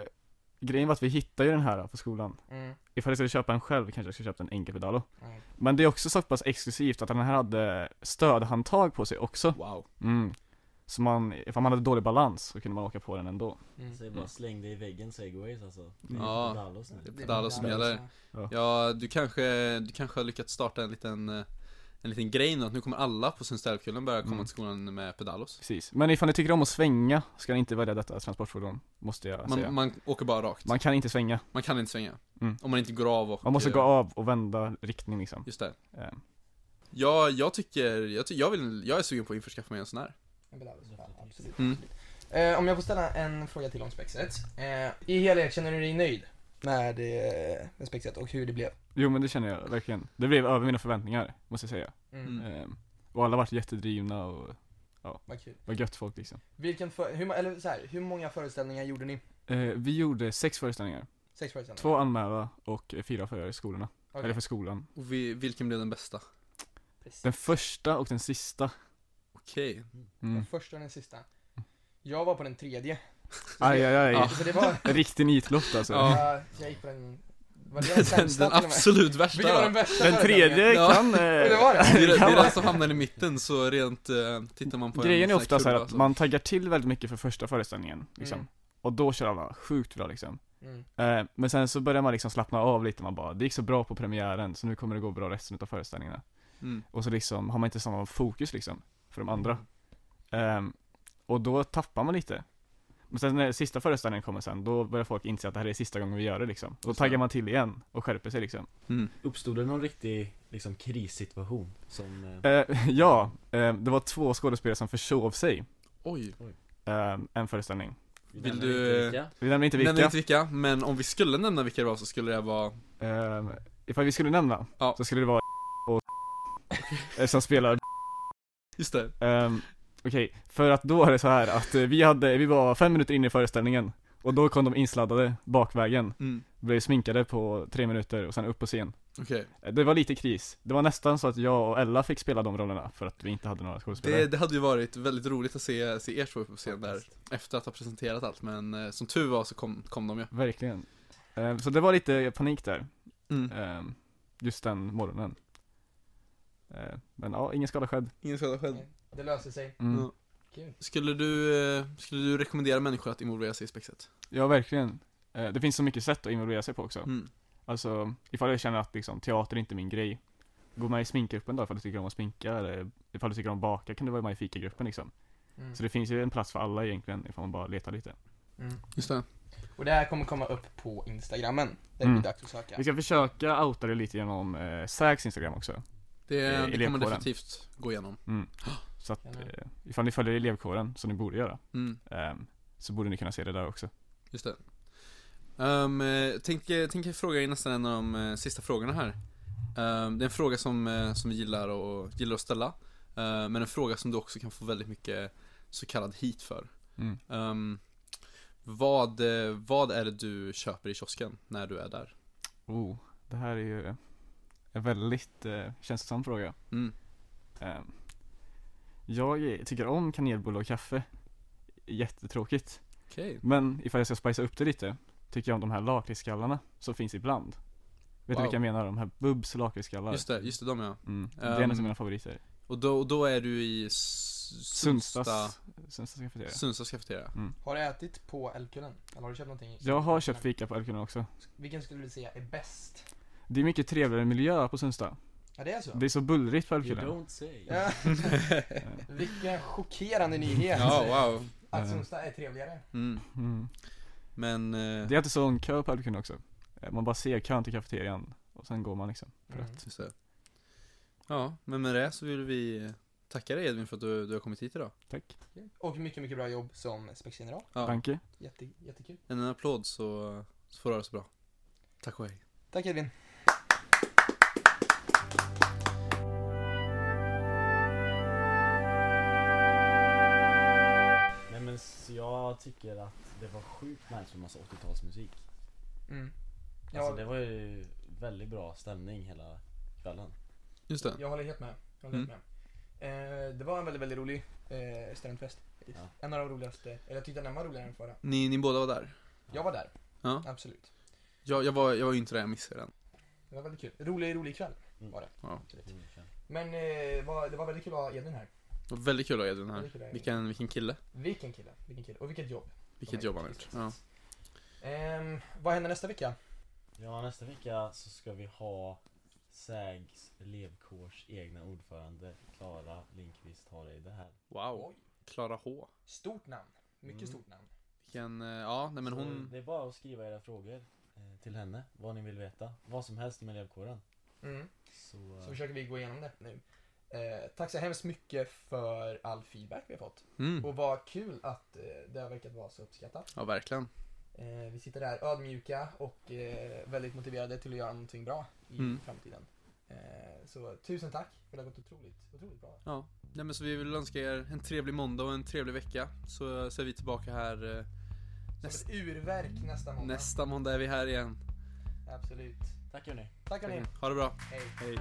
Speaker 4: grejen var att vi hittade ju den här på skolan.
Speaker 3: Mm.
Speaker 4: Ifall jag skulle köpa en själv kanske jag skulle köpa en enkelpedalo.
Speaker 3: Nej.
Speaker 4: Men det är också så pass exklusivt att den här hade stödhandtag på sig också.
Speaker 1: Wow.
Speaker 4: Mm. Så man, ifall man hade dålig balans så kunde man åka på den ändå.
Speaker 3: Mm.
Speaker 2: Säg bara
Speaker 4: Mm.
Speaker 2: släng dig i väggen segways alltså.
Speaker 1: Ja.
Speaker 2: Dalos nu.
Speaker 1: Det är
Speaker 3: Det är
Speaker 1: pedalo som
Speaker 3: pedalo,
Speaker 1: gäller. Ja, du kanske, du kanske har lyckats starta en liten, eh, en liten grej nu, att nu kommer alla på Sundställkullen börja komma
Speaker 4: Mm.
Speaker 1: till skolan med pedalos.
Speaker 4: Precis. Men ifall ni tycker om att svänga ska ni inte välja detta transportfordon, måste jag säga.
Speaker 1: Man, man åker bara rakt.
Speaker 4: Man kan inte svänga.
Speaker 1: Man kan inte svänga.
Speaker 4: Mm.
Speaker 1: Om man inte går av och...
Speaker 4: Man måste
Speaker 1: eh,
Speaker 4: gå av och vända riktning liksom.
Speaker 1: Just det.
Speaker 4: Eh,
Speaker 1: Ja, jag tycker, jag, ty- jag, vill, jag är sugen på att införskaffa mig en sån här.
Speaker 3: En pedalo, ja, absolut.
Speaker 1: Mm.
Speaker 3: Eh, om jag får ställa en fråga till om spexet. Eh, I helhet, känner du dig nöjd med, eh, med spexet och hur det blev?
Speaker 4: Jo men det känner jag verkligen. Det blev över mina förväntningar, måste jag säga.
Speaker 3: Mm.
Speaker 1: Mm.
Speaker 4: Eh, Och alla varit jättedrivna och
Speaker 3: Vad kul.
Speaker 4: var gött folk liksom.
Speaker 3: Vilken för, hur, ma- eller så här, hur många föreställningar gjorde ni?
Speaker 4: Eh, Vi gjorde sex föreställningar.
Speaker 3: Sex föreställningar?
Speaker 4: Två anmälda och eh, fyra för skolorna.
Speaker 3: Okej.
Speaker 4: Eller för skolan.
Speaker 1: Och vi, vilken blev den bästa?
Speaker 3: Precis.
Speaker 4: Den första och den sista.
Speaker 1: Okej.
Speaker 4: Mm.
Speaker 3: Den första och den sista. Jag var på den tredje.
Speaker 4: Aj, aj, aj.
Speaker 1: Ja.
Speaker 3: Så det var,
Speaker 4: En riktig nitlott alltså.
Speaker 1: Ja.
Speaker 3: ja. jag gick på den, var det den
Speaker 1: Den,
Speaker 3: sämsta
Speaker 1: den
Speaker 3: till och med?
Speaker 1: absolut
Speaker 3: Vilken var
Speaker 1: värsta
Speaker 3: den
Speaker 1: då.
Speaker 3: bästa
Speaker 4: Den tredje
Speaker 1: Ja.
Speaker 4: kan... eh,
Speaker 3: föreställningen? Det var
Speaker 1: Det är,
Speaker 3: det?
Speaker 1: det är den som hamnar i mitten, så rent, eh, tittar man på en
Speaker 4: Grejen är
Speaker 1: sån här
Speaker 4: ofta så här
Speaker 1: kurva,
Speaker 4: att man taggar till väldigt mycket för första föreställningen, liksom.
Speaker 3: Mm.
Speaker 4: Och då kör alla sjukt bra liksom.
Speaker 3: Mm.
Speaker 4: Eh, men sen så börjar man liksom slappna av lite, man bara det gick så bra på premiären så nu kommer det gå bra resten av föreställningarna.
Speaker 1: Mm.
Speaker 4: Och så liksom har man inte samma fokus liksom, för de andra. Eh, och då tappar man lite. Men sen när sista föreställningen kommer sen, då börjar folk inse att det här är sista gången vi gör det liksom. Och då
Speaker 1: Just det.
Speaker 4: taggar man till igen och skärper sig liksom.
Speaker 1: Mm.
Speaker 2: Uppstod det någon riktig liksom krissituation som eh,
Speaker 4: Eh, ja, eh, det var två skådespelare som försov sig,
Speaker 1: Oj.
Speaker 4: eh, en föreställning.
Speaker 2: vi
Speaker 1: Vill
Speaker 2: nämner
Speaker 1: du,
Speaker 2: inte
Speaker 1: eh,
Speaker 2: vilka?
Speaker 4: Vi nämner inte vilka.
Speaker 1: Nämner inte vilka, men om vi skulle nämna vilka det var så skulle det vara
Speaker 4: Um, ifall vi skulle nämna,
Speaker 1: Ja.
Speaker 4: så skulle det vara och eh, som spelar
Speaker 1: Just det.
Speaker 4: Ehm, Okej, för att då är det så här att eh, vi hade, vi var fem minuter in i föreställningen och då kom de insladdade bakvägen,
Speaker 1: Mm.
Speaker 4: blev sminkade på tre minuter och sen upp på scen.
Speaker 1: Okej.
Speaker 4: Eh, Det var lite kris. Det var nästan så att jag och Ella fick spela de rollerna för att vi inte hade några
Speaker 1: Det,
Speaker 4: skådespelare.
Speaker 1: det hade ju varit väldigt roligt att se, se er två uppe på scen där efter att ha presenterat allt, men eh, som tur var så kom, kom de ju.
Speaker 4: Verkligen. Ehm, så det var lite panik där,
Speaker 1: Mm.
Speaker 4: ehm, just den morgonen. Ehm, men ja, ingen skada skedd.
Speaker 1: Ingen skada skedd.
Speaker 3: Nej, Det löste sig.
Speaker 4: Mm.
Speaker 1: Ja.
Speaker 3: Kul.
Speaker 1: Skulle du, eh, skulle du rekommendera människor att involvera sig i spexet?
Speaker 4: Ja, verkligen. Eh, Det finns så mycket sätt att involvera sig på också.
Speaker 1: Mm.
Speaker 4: Alltså, ifall jag känner att liksom, teater är inte är min grej, gå med i sminkgruppen då ifall du tycker om att sminka, eller ifall du tycker om att baka kan du vara med i fikagruppen liksom.
Speaker 3: Mm.
Speaker 4: Så det finns ju en plats för alla egentligen, ifall man bara letar lite.
Speaker 3: Mm.
Speaker 1: Just det.
Speaker 3: Och det här kommer komma upp på instagrammen. Där det
Speaker 4: Mm.
Speaker 3: blir dags att söka.
Speaker 4: Vi ska försöka outa det lite genom eh, Sägs Instagram också.
Speaker 1: Det, det kommer
Speaker 4: elevkåren.
Speaker 1: definitivt gå igenom.
Speaker 4: Så att,
Speaker 3: Gärna.
Speaker 4: eh, ifall ni följer elevkåren, som ni borde göra,
Speaker 1: Mm.
Speaker 4: ehm, så borde ni kunna se det där också.
Speaker 1: Just det. Ehm, eh, tänk, eh, tänk jag fråga er nästan en av de eh, sista frågorna här. Ehm, det är en fråga som, eh, som vi gillar, och, gillar att ställa, eh, men en fråga som du också kan få väldigt mycket så kallad hit för.
Speaker 4: Mm.
Speaker 1: Ehm, vad, eh, vad är det du köper i kiosken när du är där?
Speaker 4: Oh, det här är ju en väldigt eh, känslosam fråga.
Speaker 1: Mm.
Speaker 4: Ehm, jag tycker om kanelbulle och kaffe. Jättetråkigt.
Speaker 1: Okej.
Speaker 4: Men ifall jag ska spicea upp det lite, tycker jag om de här lakritsskallarna som finns ibland. Vet
Speaker 1: Wow.
Speaker 4: du vilka jag menar? De här Bubs lakritsskallar.
Speaker 1: Just det, just det, de ja.
Speaker 4: Mm. Det är en av
Speaker 1: Ehm,
Speaker 4: mina favoriter.
Speaker 1: Och då, och då är du i S- Sundsta
Speaker 4: Sundstas, Sundstas kafeteria.
Speaker 1: Sundstas kafeteria.
Speaker 3: Har du ätit på Älvkullen? Eller har du köpt någonting? i-
Speaker 4: Jag har köpt fika på Ölkunden också.
Speaker 3: Vilken skulle du säga är bäst?
Speaker 4: Det är mycket trevligare miljö på Sundsta.
Speaker 3: Ja, det är så?
Speaker 4: Det är så bullrigt på Ehm,
Speaker 2: You
Speaker 4: Ölkunden.
Speaker 2: don't say.
Speaker 3: Ja. Vilken chockerande nyhet!
Speaker 1: Ja, wow.
Speaker 3: Att Sundsta är trevligare.
Speaker 1: Mm.
Speaker 4: Mm.
Speaker 1: Men, eh,
Speaker 4: Det är alltid sån kö på Ölkunden också. Eh, Man bara ser kön till kafeterian och sen går man liksom.
Speaker 3: Mm.
Speaker 1: just det. Ja, men med det så vill vi tacka dig Edvin för att du, du har kommit hit idag.
Speaker 4: Tack.
Speaker 3: Och mycket, mycket bra jobb som spexgeneral.
Speaker 1: Ja,
Speaker 4: Danke.
Speaker 3: Jätte, jättekul.
Speaker 1: en applåd så, så får du ha det så bra. Tack och hej.
Speaker 3: Tack Edvin.
Speaker 2: sjukt nice med massa 80-talsmusik.
Speaker 3: Mm. Ja,
Speaker 2: Alltså det var ju väldigt bra stämning hela kvällen.
Speaker 1: Just det.
Speaker 3: Jag håller helt med. Jag håller helt med. Eh, det var en väldigt, väldigt rolig eh, studentfest.
Speaker 2: Ja.
Speaker 3: En av de roligaste. Eller jag tyckte den var roligare än förra.
Speaker 1: Ni, ni båda var där?
Speaker 3: Jag var där.
Speaker 1: Ja.
Speaker 3: Absolut.
Speaker 1: Jag, jag, var, jag var ju inte där, jag missade den.
Speaker 3: Det var väldigt kul. Rolig, rolig kväll
Speaker 2: Mm.
Speaker 3: var det.
Speaker 1: Ja.
Speaker 3: Absolut.
Speaker 2: Mm, känns-
Speaker 3: Men eh, var, det var väldigt kul att ha Edvin här.
Speaker 1: Det var väldigt kul att ha Edvin här.
Speaker 3: Väldigt kul att ha Edvin.
Speaker 1: Vilken, vilken kille.
Speaker 3: Vilken kille. Vilken kille. Och vilket jobb.
Speaker 1: Vilket jobb han har gjort. Ja.
Speaker 3: Ehm, vad händer nästa vecka?
Speaker 2: Ja, nästa vecka så ska vi ha SÄGs elevkårs egna ordförande Klara Lindqvist Hareide här.
Speaker 1: Wow. Klara H.
Speaker 3: Stort namn. Mycket
Speaker 2: Mm.
Speaker 3: stort namn.
Speaker 1: Vilken, eh, ja, nej men
Speaker 2: Så
Speaker 1: hon.
Speaker 2: Det är bara att skriva era frågor eh, till henne, vad ni vill veta. Vad som helst om elevkåren.
Speaker 3: Mm.
Speaker 2: Så,
Speaker 3: Så
Speaker 2: eh,
Speaker 3: försöker vi gå igenom det nu. Eh, tack så hemskt mycket för all feedback vi har fått.
Speaker 1: Mm.
Speaker 3: Och vad kul att eh, det har verkat vara så uppskattat.
Speaker 1: Ja, verkligen.
Speaker 3: Eh, vi sitter där ödmjuka och eh, väldigt motiverade till att göra någonting bra i
Speaker 1: Mm.
Speaker 3: framtiden. Eh, så tusen tack, för det har gått otroligt, otroligt bra.
Speaker 1: Ja. Nej, men så vi vill önska er en trevlig måndag och en trevlig vecka. Så, så är vi tillbaka här. eh,
Speaker 3: Som
Speaker 1: Näst-
Speaker 3: ett urverk nästa måndag.
Speaker 1: Nästa måndag är vi här igen.
Speaker 3: Absolut.
Speaker 2: tack hörni.
Speaker 3: Tack hörni,
Speaker 1: Ha det bra.
Speaker 3: hej.
Speaker 1: Hej.